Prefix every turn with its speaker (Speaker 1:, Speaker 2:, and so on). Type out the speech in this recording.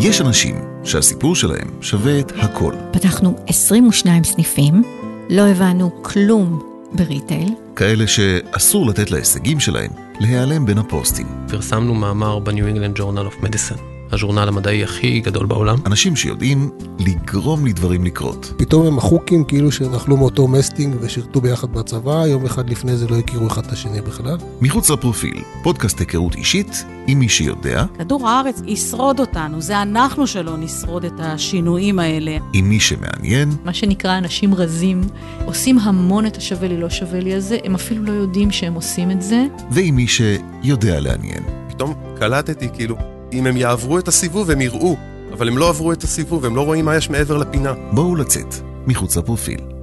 Speaker 1: יש אנשים שהסיפור שלהם שווה את הכל.
Speaker 2: פתחנו 22 סניפים, לא הבנו כלום בריטייל,
Speaker 1: כאלה שאסור לתת להישגים שלהם להיעלם בין הפוסטים.
Speaker 3: פרסמנו מאמר בניו אינגלנד ג'ורנל אוף מדיסן, הז'ורנל המדעי הכי גדול בעולם.
Speaker 1: אנשים שיודעים לגרום לדברים לקרות.
Speaker 4: פתאום הם החוקים כאילו שנחלו מאותו מסטינג ושירתו ביחד בצבא, יום אחד לפני זה לא הכירו אחד את השני בכלל.
Speaker 1: מחוץ לפרופיל, פודקאסט היכרות אישית עם מי שיודע,
Speaker 5: כדור הארץ ישרוד אותנו, זה אנחנו שלא נשרוד את השינויים האלה.
Speaker 1: עם מי שמעניין,
Speaker 6: מה שנקרא אנשים רזים, עושים המון את השווה לי לא שווה לי הזה, הם אפילו לא יודעים שהם עושים את זה.
Speaker 1: ועם מי שיודע לעניין.
Speaker 7: פתאום קלטתי, כאילו, אם הם יעברו את הסיבוב, הם יראו, אבל הם לא עברו את הסיבוב, הם לא רואים מה יש מעבר לפינה.
Speaker 1: בואו לצאת מחוץ לפרופיל.